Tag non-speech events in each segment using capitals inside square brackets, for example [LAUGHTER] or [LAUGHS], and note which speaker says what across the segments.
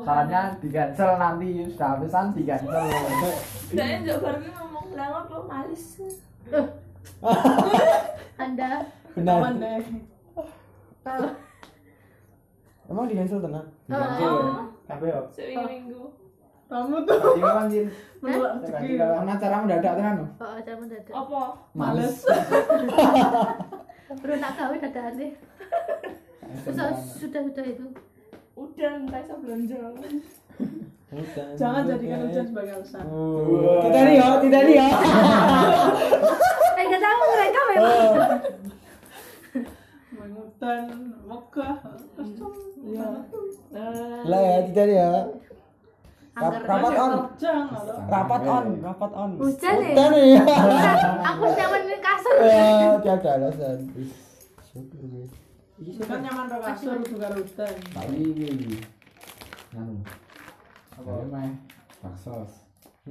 Speaker 1: Sarannya di cancel nanti sudah habisan di cancel.
Speaker 2: Saya njok Barbie ngomong bilang apa malis.
Speaker 3: Anda
Speaker 4: Benar.
Speaker 3: kalau
Speaker 4: Emang di cancel tenang.
Speaker 3: Oh.
Speaker 4: Kabeh yo.
Speaker 2: Sering minggu.
Speaker 5: Kamu tuh
Speaker 4: Berarti kan Jin.
Speaker 5: menolak
Speaker 4: Berarti
Speaker 5: rezeki.
Speaker 4: kalau ana cara mendadak tenan lho.
Speaker 3: oh, acara mendadak.
Speaker 2: Apa?
Speaker 5: Males.
Speaker 3: Bro nak gawe dadakan deh. Sudah sudah sudah itu.
Speaker 2: Udah entar saya belanja.
Speaker 5: Jangan jadikan hujan sebagai alasan.
Speaker 4: Tidak nih yo, tidak nih yo.
Speaker 3: Eh enggak tahu mereka memang.
Speaker 5: Main hutan, wakah, custom.
Speaker 2: Iya.
Speaker 4: Lah ya, tidak nih yo.
Speaker 3: Angker.
Speaker 4: Rapat on,
Speaker 5: Kerja nggak tau.
Speaker 4: rapat on, rapat on.
Speaker 3: Hujan ya. Eh.
Speaker 4: Tidak nih yo.
Speaker 3: Aku nyaman di kasur.
Speaker 4: Ya, tiada alasan. Iya,
Speaker 5: Bukan nyaman ke kasur juga hutan.
Speaker 1: Tapi ini ini. Nganu. Apa Anu. meh? Baksos.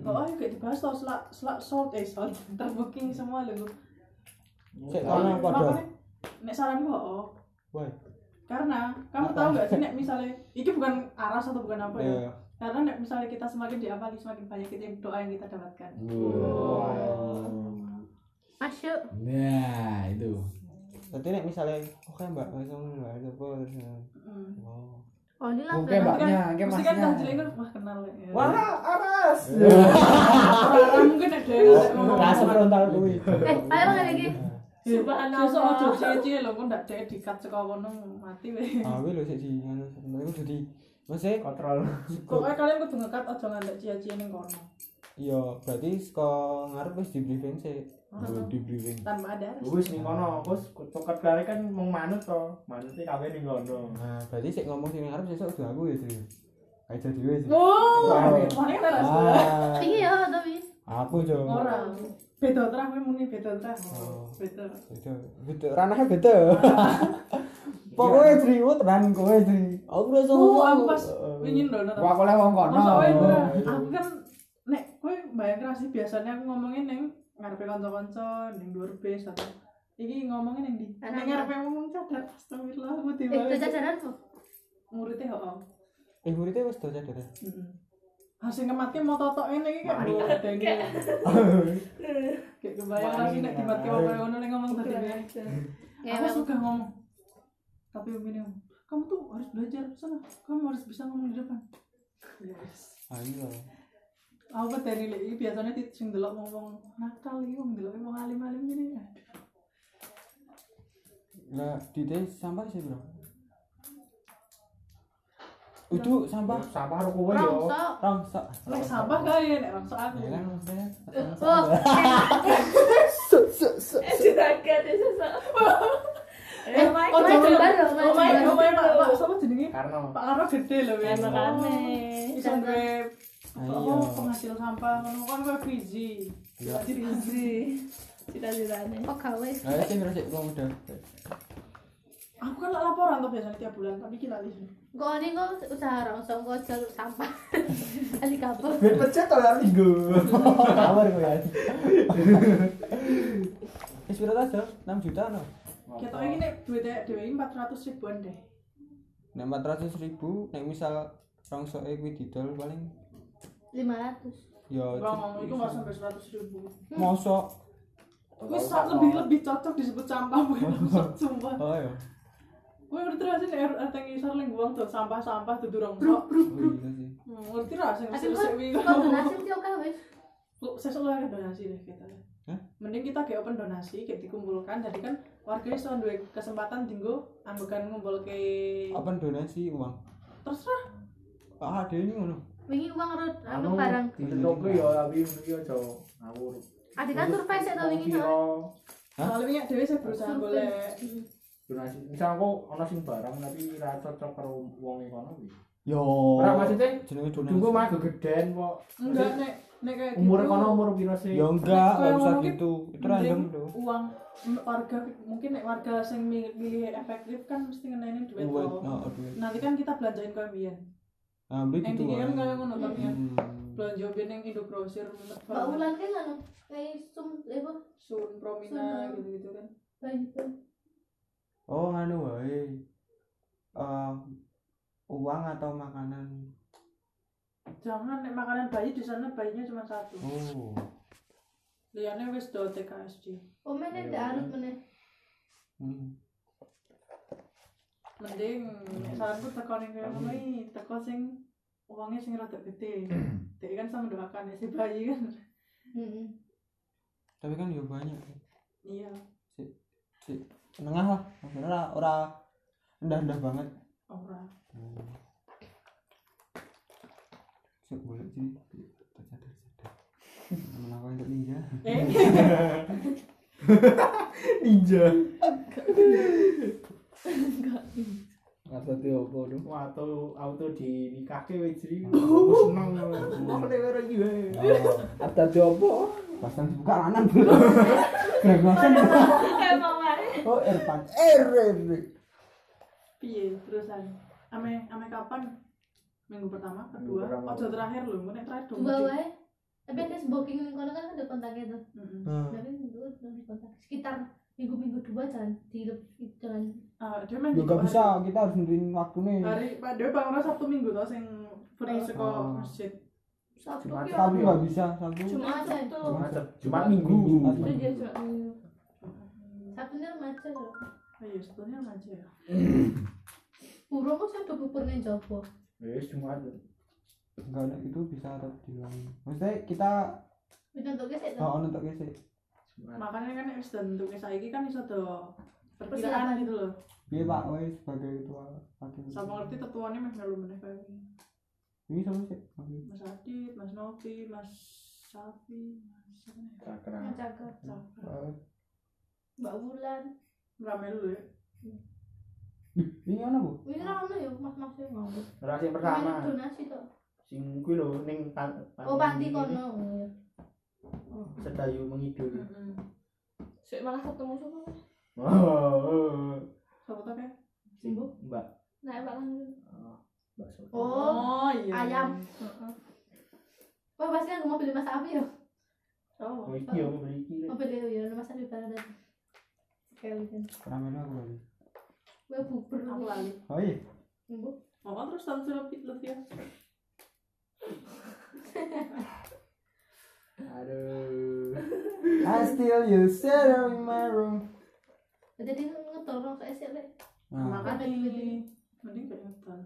Speaker 5: Oh, ayo kayak dibahas tau selak selak salt eh salt [LAUGHS] terbooking semua lho.
Speaker 4: Cek kono padha.
Speaker 5: Makanya, Nek saranku oh.
Speaker 4: Woi.
Speaker 5: Karena kamu tahu nggak sih nek misalnya ini bukan aras atau bukan apa ya?
Speaker 4: Iya.
Speaker 5: Karena nek misalnya kita semakin diapali semakin banyak kita doa yang kita dapatkan.
Speaker 4: Iya.
Speaker 3: Masuk.
Speaker 1: Nah, itu.
Speaker 4: Berarti nek misalnya, oke mbak, langsung mbak, coba terus.
Speaker 5: Mm.
Speaker 4: Oh.
Speaker 3: Oh ini langsung.
Speaker 1: Oke, Mbak. Mbaknya,
Speaker 5: Kan,
Speaker 1: kayak
Speaker 5: mesti kan
Speaker 1: masnya.
Speaker 5: kan jelek kan wah kenal ya.
Speaker 4: aras.
Speaker 5: Orang mungkin ada yang ngomong.
Speaker 4: Rasa frontal kuwi.
Speaker 3: Eh ayo nggak lagi.
Speaker 5: Subhanallah. Sosok ojo cie-cie lho kok ndak dek dikat saka kono mati weh.
Speaker 4: Ah, kuwi lho sik di ngono. Sebenarnya kudu di Maksudnya,
Speaker 1: Kontrol.
Speaker 5: Pokoke kalian kudu ngekat ojo ngantek cie-cie ning kono.
Speaker 4: ya berarti saka ngarep wis di briefing sih. Di briefing.
Speaker 5: Tanpa ada aras.
Speaker 6: Wis ning kono, wis tuket kare kan mung manut to. Manute kabeh ning kono.
Speaker 4: Nah, berarti sik ngomong sing ngarep sesuk kudu aku ya, Dri. Ayo jadi wis.
Speaker 5: Wow.
Speaker 4: Wow.
Speaker 5: Mana kan aras.
Speaker 4: Ah,
Speaker 3: Tinggi ya tapi.
Speaker 4: aku jo.
Speaker 5: Ora. Beda terah kowe muni beda terah.
Speaker 4: Oh.
Speaker 5: Beda.
Speaker 4: Beda, beda, ranahnya [LAUGHS] beda. Pokoknya Dri, wah tenan kowe Dri. Aku rasa
Speaker 5: Oh, aku pas wingi ndono.
Speaker 1: Wah, aku oleh wong kono.
Speaker 5: Masa wae ora. Aku kan nek kowe bayang ra sih biasanya aku ngomongin ning ngarepe kanca-kanca ning dhuwur bis atau iki ngomongin ning ndi? Ning ngarepe ngomong cadar. Astagfirullah, aku
Speaker 3: Eh itu
Speaker 5: tiba.
Speaker 3: jajaranmu.
Speaker 5: Muridnya heeh.
Speaker 4: Eh, muridnya wis dosa dere.
Speaker 5: Heeh. Hasil ngematke mau totok ngene iki kayak mbok dengi. iya. Kayak iya. kebayang ra sih nek dimatke apa yang ngono ning ngomong tadi. Aku
Speaker 3: Ngewel.
Speaker 5: suka Iya, ngomong. Tapi begini, kamu tuh harus belajar sana. Kamu harus bisa ngomong di depan. Yes.
Speaker 4: Ayo.
Speaker 5: Aku kan Oh, dari lagi biasanya di sing delok ngomong nakal iki wong delok wong alim-alim ngene. Aduh.
Speaker 4: Lah, di teh sampah sih, Bro. Itu sampah
Speaker 6: Sampah karo
Speaker 3: Oh,
Speaker 6: kowe
Speaker 3: iya.
Speaker 6: yo.
Speaker 3: Rongsok.
Speaker 4: rongsak.
Speaker 5: Nek sampah kae nek langsung aku.
Speaker 4: Ya kan maksudnya.
Speaker 3: Oh.
Speaker 2: Eh juragan ya sosok.
Speaker 5: Eh,
Speaker 3: Oh,
Speaker 5: ojo
Speaker 3: jembar
Speaker 5: jembar.
Speaker 3: dong,
Speaker 5: Oh, my
Speaker 3: jembar.
Speaker 5: oh my Pak, Pak, sapa jenenge?
Speaker 6: Karno.
Speaker 5: Pak Karo gede lho ya.
Speaker 2: Makane.
Speaker 5: Iso duwe
Speaker 4: Ayo.
Speaker 5: apa, penghasil sampah ngono kan kowe biji.
Speaker 4: Iya.
Speaker 2: Gizi. Cita-citane.
Speaker 3: Kok gawe?
Speaker 4: Ayo sih ngerasa uang udah.
Speaker 5: Aku kan lak laporan tuh biasanya tiap bulan, tapi kita lali.
Speaker 3: Kok ini kok usaha rongsok kok jalur sampah. [LAUGHS] Ali kapal.
Speaker 6: Ben pecet to lari go.
Speaker 4: Kabar gue ya. Eh, sepira tas dong? 6 juta no.
Speaker 5: Kita ini nek duitnya dhewe 400 ribuan deh.
Speaker 4: Nek 400 ribu, nek misal rongsok eku didol paling
Speaker 3: Lima ratus.
Speaker 4: ya
Speaker 5: Gua ngomong itu nggak sampai 100 ribu.
Speaker 4: mosok.
Speaker 5: Wis sak- lebih lebih cocok disebut sampah bukan
Speaker 4: [LAUGHS]
Speaker 5: rongsok sumpah.
Speaker 4: Oh ya.
Speaker 5: Gue ngerti rasanya nih RT ngisor yang buang tuh sampah-sampah tuh durung sok.
Speaker 4: Oh iya sih.
Speaker 5: Hmm, Ngerti rasanya
Speaker 3: Tapi
Speaker 5: mesti resik wingi
Speaker 3: kok
Speaker 5: ngomong.
Speaker 3: koordinasi mesti oke wis.
Speaker 5: Lu sesuk lah donasi deh kita.
Speaker 4: Hah?
Speaker 5: Mending kita kayak open donasi kayak dikumpulkan jadi kan warga iso duwe kesempatan dinggo ambekan ngumpul ke
Speaker 4: Apa donasi uang?
Speaker 5: terserah.
Speaker 4: Ah, ada ini ngono.
Speaker 3: Wingi uang rut, aku
Speaker 6: Anu
Speaker 3: barang.
Speaker 6: ditentuke yo tapi iki aja ngawur.
Speaker 3: Adi kan survei saya tau wingi
Speaker 6: Kira
Speaker 3: soalnya.
Speaker 4: Hah?
Speaker 5: Soalnya minyak dhewe saya berusaha
Speaker 3: Survei.
Speaker 5: golek
Speaker 3: Hmm.
Speaker 6: donasi. Misal aku ana sing barang tapi ra cocok karo wong ning kono kuwi.
Speaker 4: Yo.
Speaker 6: Ora maksudnya
Speaker 4: jenenge donasi.
Speaker 6: tunggu mah gegeden kok.
Speaker 5: enggak nek nek kayak
Speaker 6: Umur
Speaker 5: gitu.
Speaker 6: kono umur piro sih?
Speaker 4: Ya enggak,
Speaker 5: Kayak
Speaker 4: enggak usah
Speaker 5: ngomong
Speaker 4: gitu. Itu
Speaker 5: Mending
Speaker 4: random lho.
Speaker 5: uang m- warga mungkin nek warga sing mi- milih efektif kan mesti ngenainin duit
Speaker 4: Buat
Speaker 5: lo
Speaker 4: no duit.
Speaker 5: nanti kan kita belanjain kau bian
Speaker 4: Nah, beli
Speaker 5: yang
Speaker 4: gitu.
Speaker 5: tinggi kan
Speaker 4: ah.
Speaker 5: kalian ngono kan ya
Speaker 4: Hmm.
Speaker 5: belanja bian yang indo grosir
Speaker 3: Mbak Wulan kan anu kayak sum eh, apa?
Speaker 5: sun promina
Speaker 3: Sun.
Speaker 5: gitu gitu kan
Speaker 3: Bayi.
Speaker 4: Oh, anu wae. Eh, uang atau makanan
Speaker 5: Jangan nek makanan bayi di sana bayinya cuma satu.
Speaker 4: oh
Speaker 5: Liane wis do TKSD.
Speaker 3: Oh meneh ndak harus meneh.
Speaker 4: hmm.
Speaker 5: Mending nek saranku teko ning kene ngono iki, teko sing uangnya sing rada gede. Dek kan sama doakan ya si bayi kan.
Speaker 3: Heeh.
Speaker 4: tapi kan yo banyak
Speaker 5: Iya.
Speaker 4: tengah lah bener lah ora rendah rendah banget
Speaker 5: Ora.
Speaker 4: sih boleh sih tercadar cadar kenapa untuk ninja
Speaker 2: [LAUGHS]
Speaker 5: Eh,
Speaker 4: ninja
Speaker 1: Maksudnya apa lu?
Speaker 6: Waktu auto di nikahke wis jeri wis seneng. Ngono
Speaker 5: [LAUGHS]
Speaker 6: ora iki wae.
Speaker 4: Hmm.
Speaker 1: Ada
Speaker 4: Oh.
Speaker 1: apa?
Speaker 4: pasan buka lanang [LAUGHS] Greg-gregan.
Speaker 2: Kayak mau mari.
Speaker 4: oh erpan er er
Speaker 5: piye terusan? Ame ame kapan? Minggu pertama, kedua,
Speaker 6: Minggu pertama.
Speaker 5: ojo terakhir lho, nek terakhir dong.
Speaker 3: Dua wae. Tapi nek booking ning kono kan ada kontaknya tuh.
Speaker 5: Heeh.
Speaker 4: Hmm.
Speaker 3: Tapi minggu belum dikontak. Sekitar minggu-minggu dua jangan di jangan
Speaker 5: Ah, dia main
Speaker 4: Ya
Speaker 5: di
Speaker 4: gak
Speaker 5: hari-
Speaker 4: bisa, kita harus nentuin waktunya.
Speaker 5: Hari Pak Dewi Bang Ros Sabtu Minggu to sing
Speaker 3: Oh.
Speaker 5: free saka
Speaker 4: Oh.
Speaker 5: masjid.
Speaker 2: Sabtu
Speaker 6: Jumat,
Speaker 2: ki
Speaker 4: Sabtu
Speaker 2: apa?
Speaker 4: gak bisa, Sabtu.
Speaker 2: Jumat
Speaker 3: Jumat.
Speaker 2: Sabtu.
Speaker 6: Jumat, Jumat Minggu.
Speaker 4: Jumat.
Speaker 2: Itu dia Jumat Minggu.
Speaker 3: Sabtu ini remaja loh.
Speaker 5: Oh iya, sebetulnya aja ya.
Speaker 3: Burung kok sampe gugur ning jopo.
Speaker 6: Wis Jumat.
Speaker 4: Enggak ada itu bisa tetap diulangi. Maksudnya kita
Speaker 3: Dicontoke sik
Speaker 4: gak
Speaker 3: to.
Speaker 4: ono tok kese.
Speaker 6: Jumat.
Speaker 5: Makanya kan wis tentuke saiki kan iso do perkiraan gitu loh.
Speaker 4: Piye Pak Wei sebagai ketua pakai.
Speaker 5: Sapa ngerti tetuane meh melu meneh kae.
Speaker 4: Ini sama sih. Oke.
Speaker 5: Mas Adit, Mas Novi, Mas Safi, Mas siapa nih?
Speaker 6: Kakak.
Speaker 3: Ngejaga
Speaker 5: Safi.
Speaker 4: Eh,
Speaker 3: Mbak Wulan.
Speaker 5: Rame lu ya.
Speaker 4: Ini ono Bu.
Speaker 3: Wis ora ono ya mas-mas sing ngomong.
Speaker 6: Ora sing
Speaker 3: Ini
Speaker 6: pertama.
Speaker 3: donasi to.
Speaker 6: Sing kuwi lho ning pan-
Speaker 3: Oh panti kono. Oh, iya.
Speaker 6: Sedayu
Speaker 3: Hmm.
Speaker 6: mengidul.
Speaker 5: Heeh.
Speaker 2: Sik malah ketemu sama.
Speaker 6: Oh.
Speaker 5: Sapa to kae?
Speaker 6: Sing [LAUGHS] Mbak.
Speaker 2: Nah, Pak Langgeng.
Speaker 6: Oh, Mbak Soto.
Speaker 3: Oh,
Speaker 5: iya.
Speaker 3: ayam.
Speaker 5: Heeh.
Speaker 3: wah pasti aku mau beli Mas Abi ya.
Speaker 5: Oh.
Speaker 6: Oh, iki ya mbak iki.
Speaker 3: Mau beli ya Mas Abi barang tadi. Kayak gitu.
Speaker 4: Ramen aku lagi.
Speaker 3: Gue bubur
Speaker 5: Aku lali.
Speaker 4: Oh iya.
Speaker 3: Mbok.
Speaker 5: Oh, terus tahu sudah pitlet ya.
Speaker 6: Aduh.
Speaker 4: I still you sit in my room.
Speaker 3: Jadi ngetol rong saya sih Lek.
Speaker 4: Nah,
Speaker 5: Makanya mending kayak ngetan.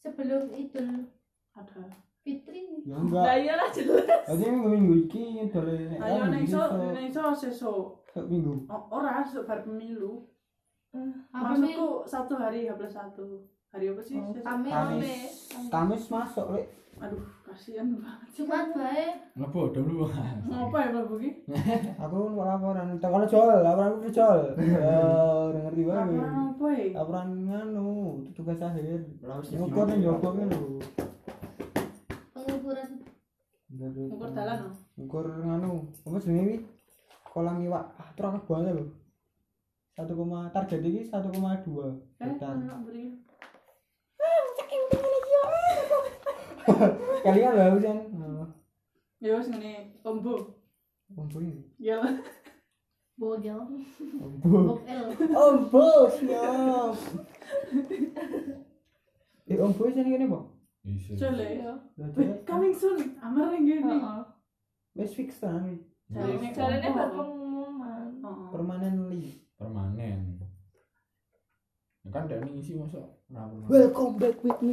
Speaker 3: sebelum Idul
Speaker 5: Ada.
Speaker 3: Fitri.
Speaker 2: Lah
Speaker 4: ya enggak.
Speaker 2: iyalah jelas.
Speaker 4: Jadi minggu minggu iki dole nek
Speaker 5: Ayo
Speaker 4: kan
Speaker 5: nek iso,
Speaker 4: bisa.
Speaker 5: nek iso sesuk.
Speaker 4: Sok minggu.
Speaker 5: Oh, ora sesuk bar pemilu.
Speaker 3: Apa sih?
Speaker 5: Maksudku satu hari H plus satu. Hari apa sih?
Speaker 3: Oh,
Speaker 5: Sesuk.
Speaker 3: Kami
Speaker 4: Kamis.
Speaker 3: Kamis.
Speaker 4: Kamis masuk, Lek.
Speaker 5: Aduh, kasihan banget.
Speaker 3: Jumat bae.
Speaker 6: Ngapa dulu?
Speaker 5: Ngapa ya Pak Buki?
Speaker 4: Aku mau laporan. Tak kalau jol, laporan aku [LAUGHS] jol. Eh, udah ngerti banget.
Speaker 5: Laporan apa ya?
Speaker 4: laporan nganu anu, tugas akhir
Speaker 6: Lah wis
Speaker 4: ngukur nih jopo kan lho
Speaker 3: Pengukuran.
Speaker 5: Ngukur dalan no?
Speaker 4: ngukur nganu anu, apa jenenge iki kolam iwak ah terus akeh banget lho 1, koma- target iki 1,2
Speaker 5: Eh,
Speaker 4: hektar
Speaker 5: anak beri.
Speaker 4: kalian lho kan
Speaker 5: Ya wis ngene, ombo.
Speaker 4: ombo Oh, ini Oh,
Speaker 5: Ya.
Speaker 3: Bogel.
Speaker 4: ombo
Speaker 3: Bogel.
Speaker 4: ombo Oh, siap [LAUGHS] eh ombo ini kene kok
Speaker 2: Iya.
Speaker 5: Cule.
Speaker 4: Berarti
Speaker 5: ya. Coming soon. Amar ning ngene.
Speaker 2: Heeh.
Speaker 4: wis fix tenan iki
Speaker 5: Jarene
Speaker 2: Jarene
Speaker 5: apa?
Speaker 2: bar pengumuman.
Speaker 5: Nah, Heeh.
Speaker 4: permanently
Speaker 6: Permanen. Ya kan Dani ngisi masa ora permanen.
Speaker 4: welcome back with me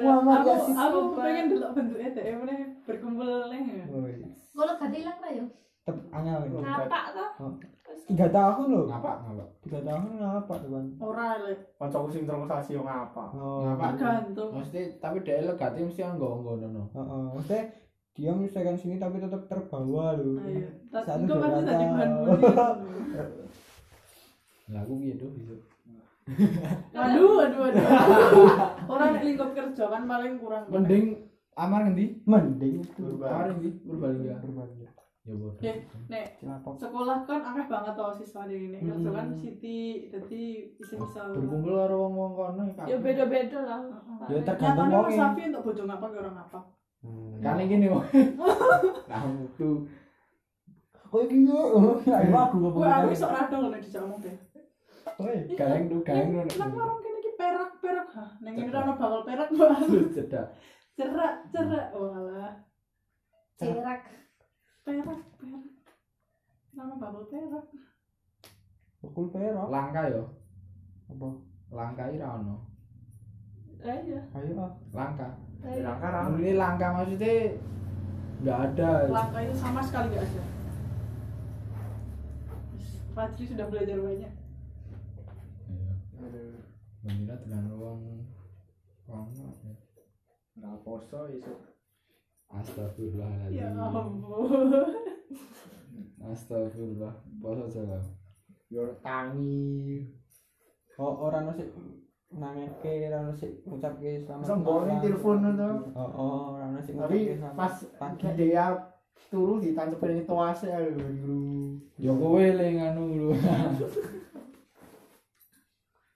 Speaker 4: Muhammad
Speaker 5: Aku
Speaker 4: Yasin.
Speaker 5: aku pengen delok bentuke dhek meneh berkumpul ya. leh.
Speaker 4: Woi,
Speaker 3: Kalau gak hilang lah ya.
Speaker 4: tep anyal ini.
Speaker 2: Ngapak toh?
Speaker 4: Oh.
Speaker 2: Terus-
Speaker 4: tiga tahun loh
Speaker 6: Ngapa ngapa?
Speaker 4: tiga tahun ngapa tuh kan
Speaker 5: Ora leh.
Speaker 6: Kancaku sing terus sasi yo ngapa?
Speaker 4: oh
Speaker 6: Ngapa?
Speaker 5: Tergantung.
Speaker 6: Mesti tapi dhek legate mesti anggo-anggo ngono.
Speaker 4: Heeh, maksudnya dia misalkan sini tapi tetap terbawa loh
Speaker 1: Oh,
Speaker 5: Ayo.
Speaker 1: iya.
Speaker 4: Satu
Speaker 5: Engko pasti
Speaker 4: dua
Speaker 5: tadi bahan
Speaker 4: tahun.
Speaker 5: bully.
Speaker 6: Lah aku piye tuh iso.
Speaker 5: Aduh, aduh, aduh. Orang nek lingkup kerja kan paling kurang.
Speaker 6: Mending amar ngendi?
Speaker 4: mending tuh
Speaker 6: Amar ngendi?
Speaker 4: Iya.
Speaker 6: Purbalingga.
Speaker 4: berbagi
Speaker 1: Ah,
Speaker 6: Ya bodoh.
Speaker 5: Ya, nek
Speaker 4: cilapok
Speaker 5: sekolah kan akeh banget tau siswa di ini. Kerja kan
Speaker 4: Hmm. Ah,
Speaker 5: city, jadi bisa bisa.
Speaker 6: Berkumpul karo wong-wong kono
Speaker 2: Ya beda-beda lah.
Speaker 5: Ah,
Speaker 4: ya
Speaker 1: iya,
Speaker 4: tergantung
Speaker 5: Nyatanya Mas
Speaker 4: wongnya
Speaker 5: kan Safi untuk bojo ngapa ke orang apa?
Speaker 4: Hmm.
Speaker 6: Kali gini wong. Nah, itu
Speaker 4: oh iya oh, iya ayo aku
Speaker 5: Gue aku
Speaker 4: ngomong
Speaker 5: sok rado loh nek dijak ngomong deh.
Speaker 4: Woi,
Speaker 6: galeng tuh galeng ngono.
Speaker 5: Nang warung kene iki perak perak hah neng ini rano bakal perak [LAUGHS] mbak
Speaker 6: Cedak.
Speaker 5: cerak cerak Oh, walah
Speaker 3: cerak
Speaker 5: perak perak nama bakal perak
Speaker 4: Bakul perak.
Speaker 6: Langka yo.
Speaker 4: Apa?
Speaker 6: Langka ira ono.
Speaker 2: Lah iya.
Speaker 4: Ayo ah.
Speaker 6: Langka.
Speaker 2: Lah iya.
Speaker 6: Langka Ini langka maksudnya nggak ada.
Speaker 5: langkah itu sama sekali gak ada Fajri sudah belajar banyak
Speaker 6: Iya. Mengira dengan ruang lama. ya.
Speaker 1: Nggak poso iso.
Speaker 5: ya
Speaker 6: Astagfirullahaladzim.
Speaker 5: ampun [LAUGHS]
Speaker 6: Astagfirullah. Poso jalan.
Speaker 1: Yo tangi.
Speaker 4: Oh, ora ono sik nangeke, ora ono sik ngucapke selamat.
Speaker 1: Semboni
Speaker 4: malam.
Speaker 1: telepon itu.
Speaker 4: Oh, oh, ora ono sing
Speaker 1: Tapi pas
Speaker 4: pagi.
Speaker 1: dia turu ditancepin itu asik lho guru.
Speaker 6: Ya kowe le nganu lho.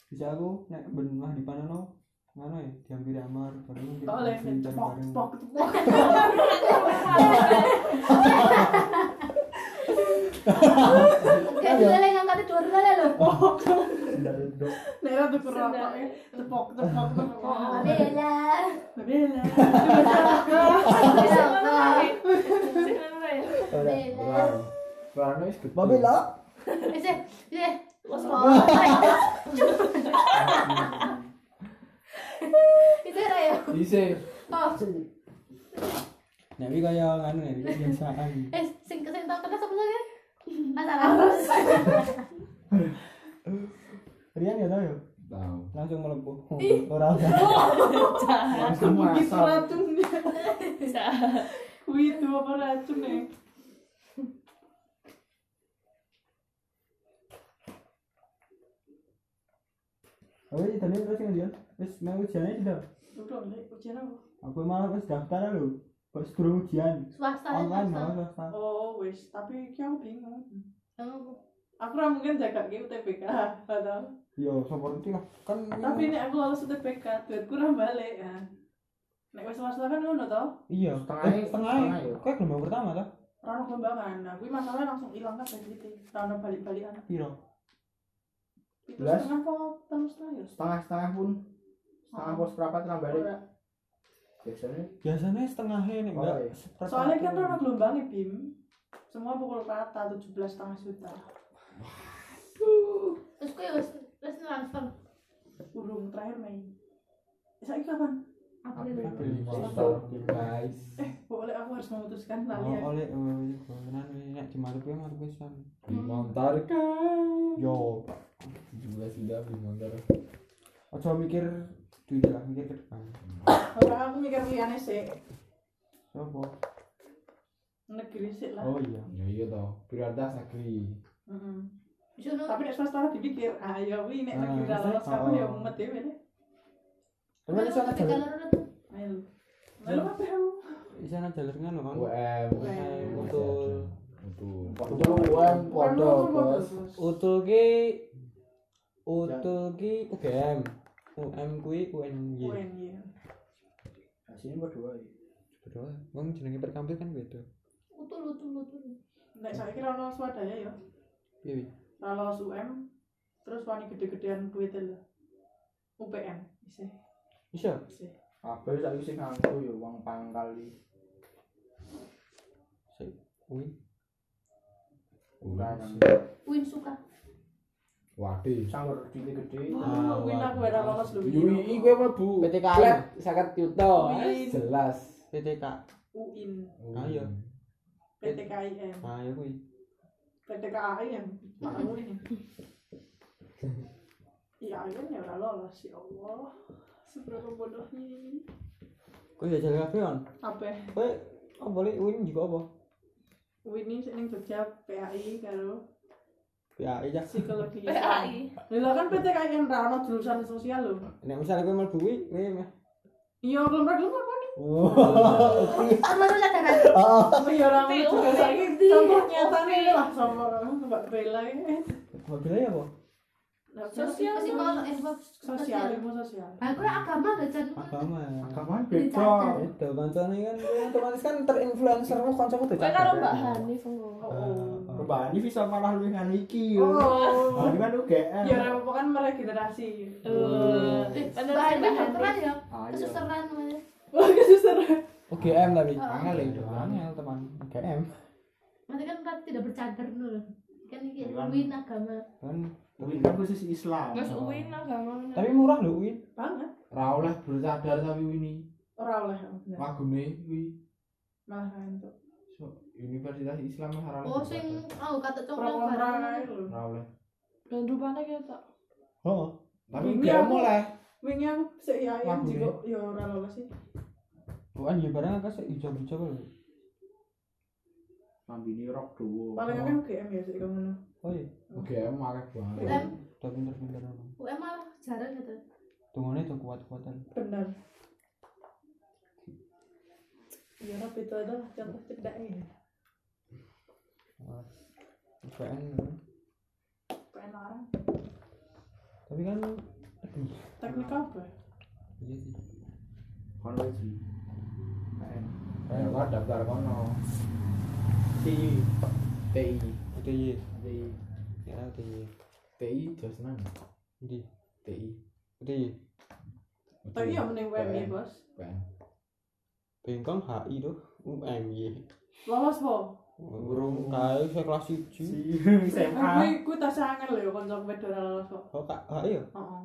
Speaker 4: bisa aku nek ben mah di panono ngono ya diampiri amar bareng kita
Speaker 5: oleh
Speaker 4: bincang
Speaker 5: cepok
Speaker 4: bareng.
Speaker 5: cepok cepok
Speaker 3: kayak dulu lah yang kata dua dulu lah loh
Speaker 5: nah itu tuh kerokok ya cepok cepok cepok
Speaker 3: bela
Speaker 5: bela
Speaker 2: Sing apa ya?
Speaker 4: Iya,
Speaker 3: bela
Speaker 6: iya. Rano wis gede.
Speaker 3: bisa bisa
Speaker 2: Wes
Speaker 3: itu ya
Speaker 6: Dise.
Speaker 3: oh
Speaker 4: nek iki kaya ngono nek iki biasaan
Speaker 3: eh sing sing tau kena sebelum ya masalah
Speaker 4: Rian ya tau ya
Speaker 6: Tahu.
Speaker 4: langsung melepuh
Speaker 5: [LAUGHS]
Speaker 4: ora ora
Speaker 1: Langsung
Speaker 5: begitu
Speaker 1: masal.
Speaker 5: racunnya Wih, itu apa racun ya?
Speaker 4: aku iki Oh, tadi terus sing Rian wis mau ujiannya sudah
Speaker 5: Udah, Lek, ujian apa?
Speaker 4: aku malah wis daftar lho pas durung ujian
Speaker 3: swasta
Speaker 4: online
Speaker 3: swasta.
Speaker 4: malah swasta
Speaker 5: Oh, wis. Tapi iki aku bingung.
Speaker 3: Oh,
Speaker 5: Aku ora mungkin jaga ke UTBK, atau.
Speaker 4: yo seperti lah kan ini-
Speaker 5: Tapi nek aku lolos UTBK, duitku ora balik ya. Nek wis swasta kan ngono to?
Speaker 4: iya
Speaker 6: Setengahnya-
Speaker 4: eh, setengahnya
Speaker 6: setengah ya.
Speaker 4: kok gelombang pertama ta
Speaker 5: Rano kembangan. Nah, kuwi masalahnya langsung ilang kabeh gitu. Rano balik-balikan.
Speaker 4: piro
Speaker 5: Itu
Speaker 1: Belas.
Speaker 5: setengah apa terus setengah ya?
Speaker 1: Setengah-setengah pun. Setengah
Speaker 5: Oh.
Speaker 1: pos berapa tambah
Speaker 5: Ora.
Speaker 1: biasanya.
Speaker 4: biasanya setengahnya nek
Speaker 1: Oh,
Speaker 4: enggak
Speaker 1: iya.
Speaker 4: seperempat.
Speaker 5: Soalnya kan Rano
Speaker 4: Oh,
Speaker 5: gelombangnya Bim. Semua pukul rata 17 setengah juta.
Speaker 3: terus kue wes wes transfer
Speaker 5: Urung terakhir Mei. Saiki kapan?
Speaker 3: April
Speaker 4: April.
Speaker 6: Monster guys.
Speaker 5: Boleh aku harus memutuskan tali
Speaker 4: Oh,
Speaker 5: ya.
Speaker 4: oleh oh, iya, beneran ini nek di Maluku ya Maluku pisan.
Speaker 6: Monster
Speaker 4: Yo,
Speaker 6: 17 sudah di monster.
Speaker 4: aja mikir duit lah, mikir ke depan.
Speaker 5: Ora aku mikir liyane sih.
Speaker 4: Sopo?
Speaker 5: Negeri sih lah.
Speaker 4: Oh iya.
Speaker 6: Ya iya toh. Prioritas negeri.
Speaker 4: Oh.
Speaker 5: Mm-mm.
Speaker 3: Juno
Speaker 5: tapi nek swasta ora dipikir ayo wi ya nek
Speaker 4: Ah,
Speaker 5: negeri ra lolos
Speaker 4: maksudnya,
Speaker 5: kapan ya
Speaker 4: oh.
Speaker 5: umat dhewe nek
Speaker 4: Tapi ini sana jalur, Iya.
Speaker 5: ayo Lalu apa ya?
Speaker 4: di sana jalurnya lho kan.
Speaker 6: UM.
Speaker 5: UM.
Speaker 4: Utul.
Speaker 6: Utul.
Speaker 1: Padha uang padha bos.
Speaker 4: Utul ki Utul ki UGM. UM kuwi UNY.
Speaker 5: UNY.
Speaker 1: Hasilnya berdua. ya.
Speaker 4: Berdua. Wong jenenge perkampil kan beda.
Speaker 3: utul utul utul
Speaker 5: Nek saiki ra lolos swadaya ya.
Speaker 4: Piye? Wi?
Speaker 5: Ra lolos UM terus wani gede-gedean duit ya, lho. UPN isih
Speaker 4: Bisa.
Speaker 5: isih.
Speaker 1: Kabeh saiki sing nganggo ya wong pangkal iki.
Speaker 4: Sik. Kuwi.
Speaker 1: Bukan.
Speaker 3: win suka
Speaker 6: Waduh.
Speaker 1: Sanggur duit gede.
Speaker 4: Ah,
Speaker 5: Wah, win aku ora lolos lho. iya.
Speaker 6: UI
Speaker 4: iya,
Speaker 6: gue apa bu?
Speaker 4: PTKI.
Speaker 6: Flat, Sangat yuto.
Speaker 5: Wih.
Speaker 6: Jelas.
Speaker 4: PTK.
Speaker 5: UIN,
Speaker 1: Ah,
Speaker 4: Ayo.
Speaker 1: iya.
Speaker 5: PTKIM,
Speaker 4: Nah, ya kuwi.
Speaker 5: PTKIM. Pak Uin. Iya, IAIN ya ora lolos ya Allah. Seberapa bodohnya ini.
Speaker 4: Kuwi ya jalur kabeh on.
Speaker 5: Apa?
Speaker 4: Kuwi oh boleh UIN juga apa?
Speaker 5: Winnie sing ning Jogja PAI karo
Speaker 4: Ya, iya.
Speaker 5: psikologi.
Speaker 2: PAI.
Speaker 5: Lha kan PTKN ra ono jurusan sosial lho.
Speaker 4: Nek misalnya kowe mlebu kuwi, kuwi ya, meh.
Speaker 5: Iya, belum ra apa nih?
Speaker 6: Ah,
Speaker 3: sama tuh sadaran
Speaker 5: Oh iya ra ono
Speaker 2: Ngerti,
Speaker 5: juga
Speaker 2: ngerti,
Speaker 5: saiki
Speaker 2: ngerti,
Speaker 5: contoh
Speaker 2: ngerti.
Speaker 5: nyatane lah sama Mbak Bella. ya.
Speaker 4: Mobilnya apa?
Speaker 5: Lah,
Speaker 3: sosial sih Eh. kalau info
Speaker 5: sosial ilmu sosial
Speaker 3: aku lah agama gak jadi
Speaker 4: agama ya.
Speaker 6: Agama
Speaker 3: Bercanda.
Speaker 6: beda. Eh,
Speaker 4: itu kancane kan otomatis kan terinfluencer lu kancaku tuh
Speaker 2: Kowe karo Mbak Hanif ngono.
Speaker 6: Oh, Mbak Ani bisa malah lu yang iki.
Speaker 1: Iya.
Speaker 6: Oh,
Speaker 5: oh
Speaker 6: kan UGM.
Speaker 5: ya ora apa-apa kan meregenerasi
Speaker 2: Eh, eh, bener sih,
Speaker 3: bahasa
Speaker 2: Mbak Hanif.
Speaker 3: kedokteran ya
Speaker 6: Ayo.
Speaker 1: Ah, iya.
Speaker 3: kesusaran weh.
Speaker 5: oh kesusaran
Speaker 4: UGM tapi
Speaker 3: Oh.
Speaker 2: Ah.
Speaker 6: Angel ya, Dok.
Speaker 4: angel teman UGM
Speaker 3: Nanti kan berarti tidak bercadar nul kan ini
Speaker 6: Bukan.
Speaker 3: win agama
Speaker 4: kan
Speaker 6: UIN kan khusus Islam.
Speaker 2: Mas Uin agama.
Speaker 4: tapi murah loh Win
Speaker 5: banget
Speaker 6: Ra oleh bersadar tapi ini
Speaker 5: ora oleh bener.
Speaker 6: lagune kuwi
Speaker 5: malah entuk
Speaker 6: so, Universitas Islam yang haram.
Speaker 3: oh sing oh kata coklat
Speaker 5: ora
Speaker 3: barang
Speaker 5: lho
Speaker 6: Ra oleh.
Speaker 2: Dan rupanya kita.
Speaker 4: oh
Speaker 6: Tapi
Speaker 5: Ini
Speaker 6: UGM
Speaker 5: aku-
Speaker 6: oleh.
Speaker 5: wingi aku sik ya yang
Speaker 6: Lagu
Speaker 5: juga ya ora lolos sih
Speaker 4: bukan ya barang aku sih hijau-hijau lho
Speaker 6: Mambini rok duo.
Speaker 5: paling akeh UGM ya sik ngono
Speaker 4: oh iya
Speaker 6: UGM akeh banget.
Speaker 3: UM
Speaker 4: udah pinter-pinter emang.
Speaker 3: UM malah jarang gitu
Speaker 4: tungguannya tuh kuat-kuatan
Speaker 5: bener ya ora itu adalah contoh cedak ini
Speaker 4: Wah, UGM kan.
Speaker 5: pengen larang
Speaker 4: tapi kan aduh
Speaker 5: teknik apa
Speaker 4: iya sih
Speaker 6: Kono iki.
Speaker 4: Eh,
Speaker 6: Eh, kok daftar kono. TI. TI.
Speaker 4: UTY
Speaker 6: TI.
Speaker 4: ya UTY
Speaker 6: TI Josnan.
Speaker 4: di
Speaker 6: TI.
Speaker 4: UTY
Speaker 7: [LAUGHS]
Speaker 5: tapi ya mending UM ya bos
Speaker 6: UGM.
Speaker 4: bengkong HI tuh iya. UMY
Speaker 5: lolos po
Speaker 4: urung kae saya kelas 1
Speaker 5: aku iku tas angel lho ya kanca kuwe ora lolos kok
Speaker 4: oh kak HI ya
Speaker 5: heeh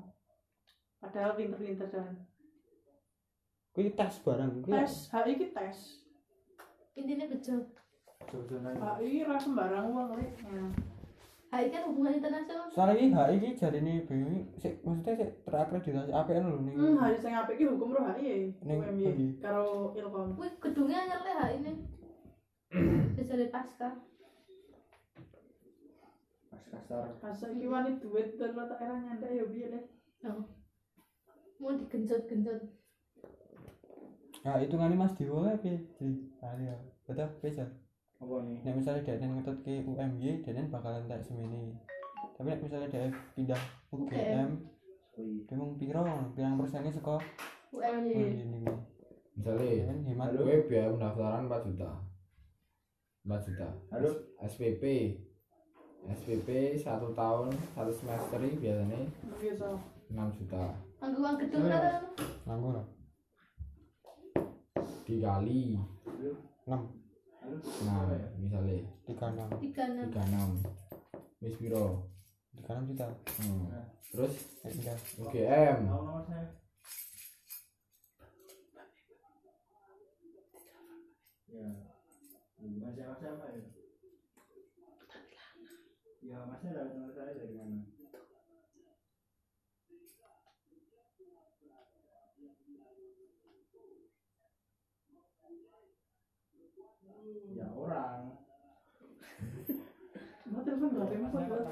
Speaker 5: padahal pinter-pinter jalan
Speaker 4: kuwi tes barang kuwi
Speaker 5: tes HI ki tes
Speaker 3: intinya bejo
Speaker 6: Josnan.
Speaker 5: HI ra sembarang wong lek
Speaker 3: HI kan hubungan internasional
Speaker 4: soalnya ini HI ini jadi ini BMI sik, maksudnya sik terakreditasi APN lho nih
Speaker 5: hmm hari sing apik ki hukum ro HI
Speaker 4: Ning pundi?
Speaker 5: UMY karo Ilkom
Speaker 3: wih gedungnya anyar leh HI
Speaker 6: [CLEARS THROAT]
Speaker 3: ini bisa dari pasca
Speaker 6: Pas kasar.
Speaker 5: Masa iki wani duit dan lo tak era nyandak ya biar deh
Speaker 3: oh. mau digenjot-genjot
Speaker 4: nah hitungannya Mas Dewa lah Pi. jadi ahli ya betul bisa
Speaker 6: Apa nih?
Speaker 4: nek misalnya dia ngetut ke UMY dia bakalan tak semini tapi nek misalnya dia pindah UGM
Speaker 6: Kui.
Speaker 4: dia mau piro pirang persennya saka
Speaker 3: UM
Speaker 4: UMY ini gua
Speaker 7: misalnya
Speaker 4: kan hemat
Speaker 7: Halo. gue biaya pendaftaran 4 juta 4 juta
Speaker 6: Halo?
Speaker 7: SPP SPP 1 tahun 1 semester ini biasanya
Speaker 5: biasa
Speaker 7: 6 juta
Speaker 3: angguan gedung lah
Speaker 4: nganggur
Speaker 7: dikali
Speaker 4: enam
Speaker 7: 6 misalnya
Speaker 4: tiga enam
Speaker 3: tiga enam
Speaker 7: 36 Miss Biro
Speaker 4: tiga enam juta
Speaker 7: hmm. terus
Speaker 4: nek pindah
Speaker 7: UGM
Speaker 6: Tahu nomor saya?
Speaker 1: Dạ.
Speaker 6: Ya.
Speaker 1: Ừ,
Speaker 6: Mas siapa siapa ya? Ya, masnya dapat nomor saya dari mana? Ya orang.
Speaker 5: mau telepon gak telepon
Speaker 6: Masnya
Speaker 5: gak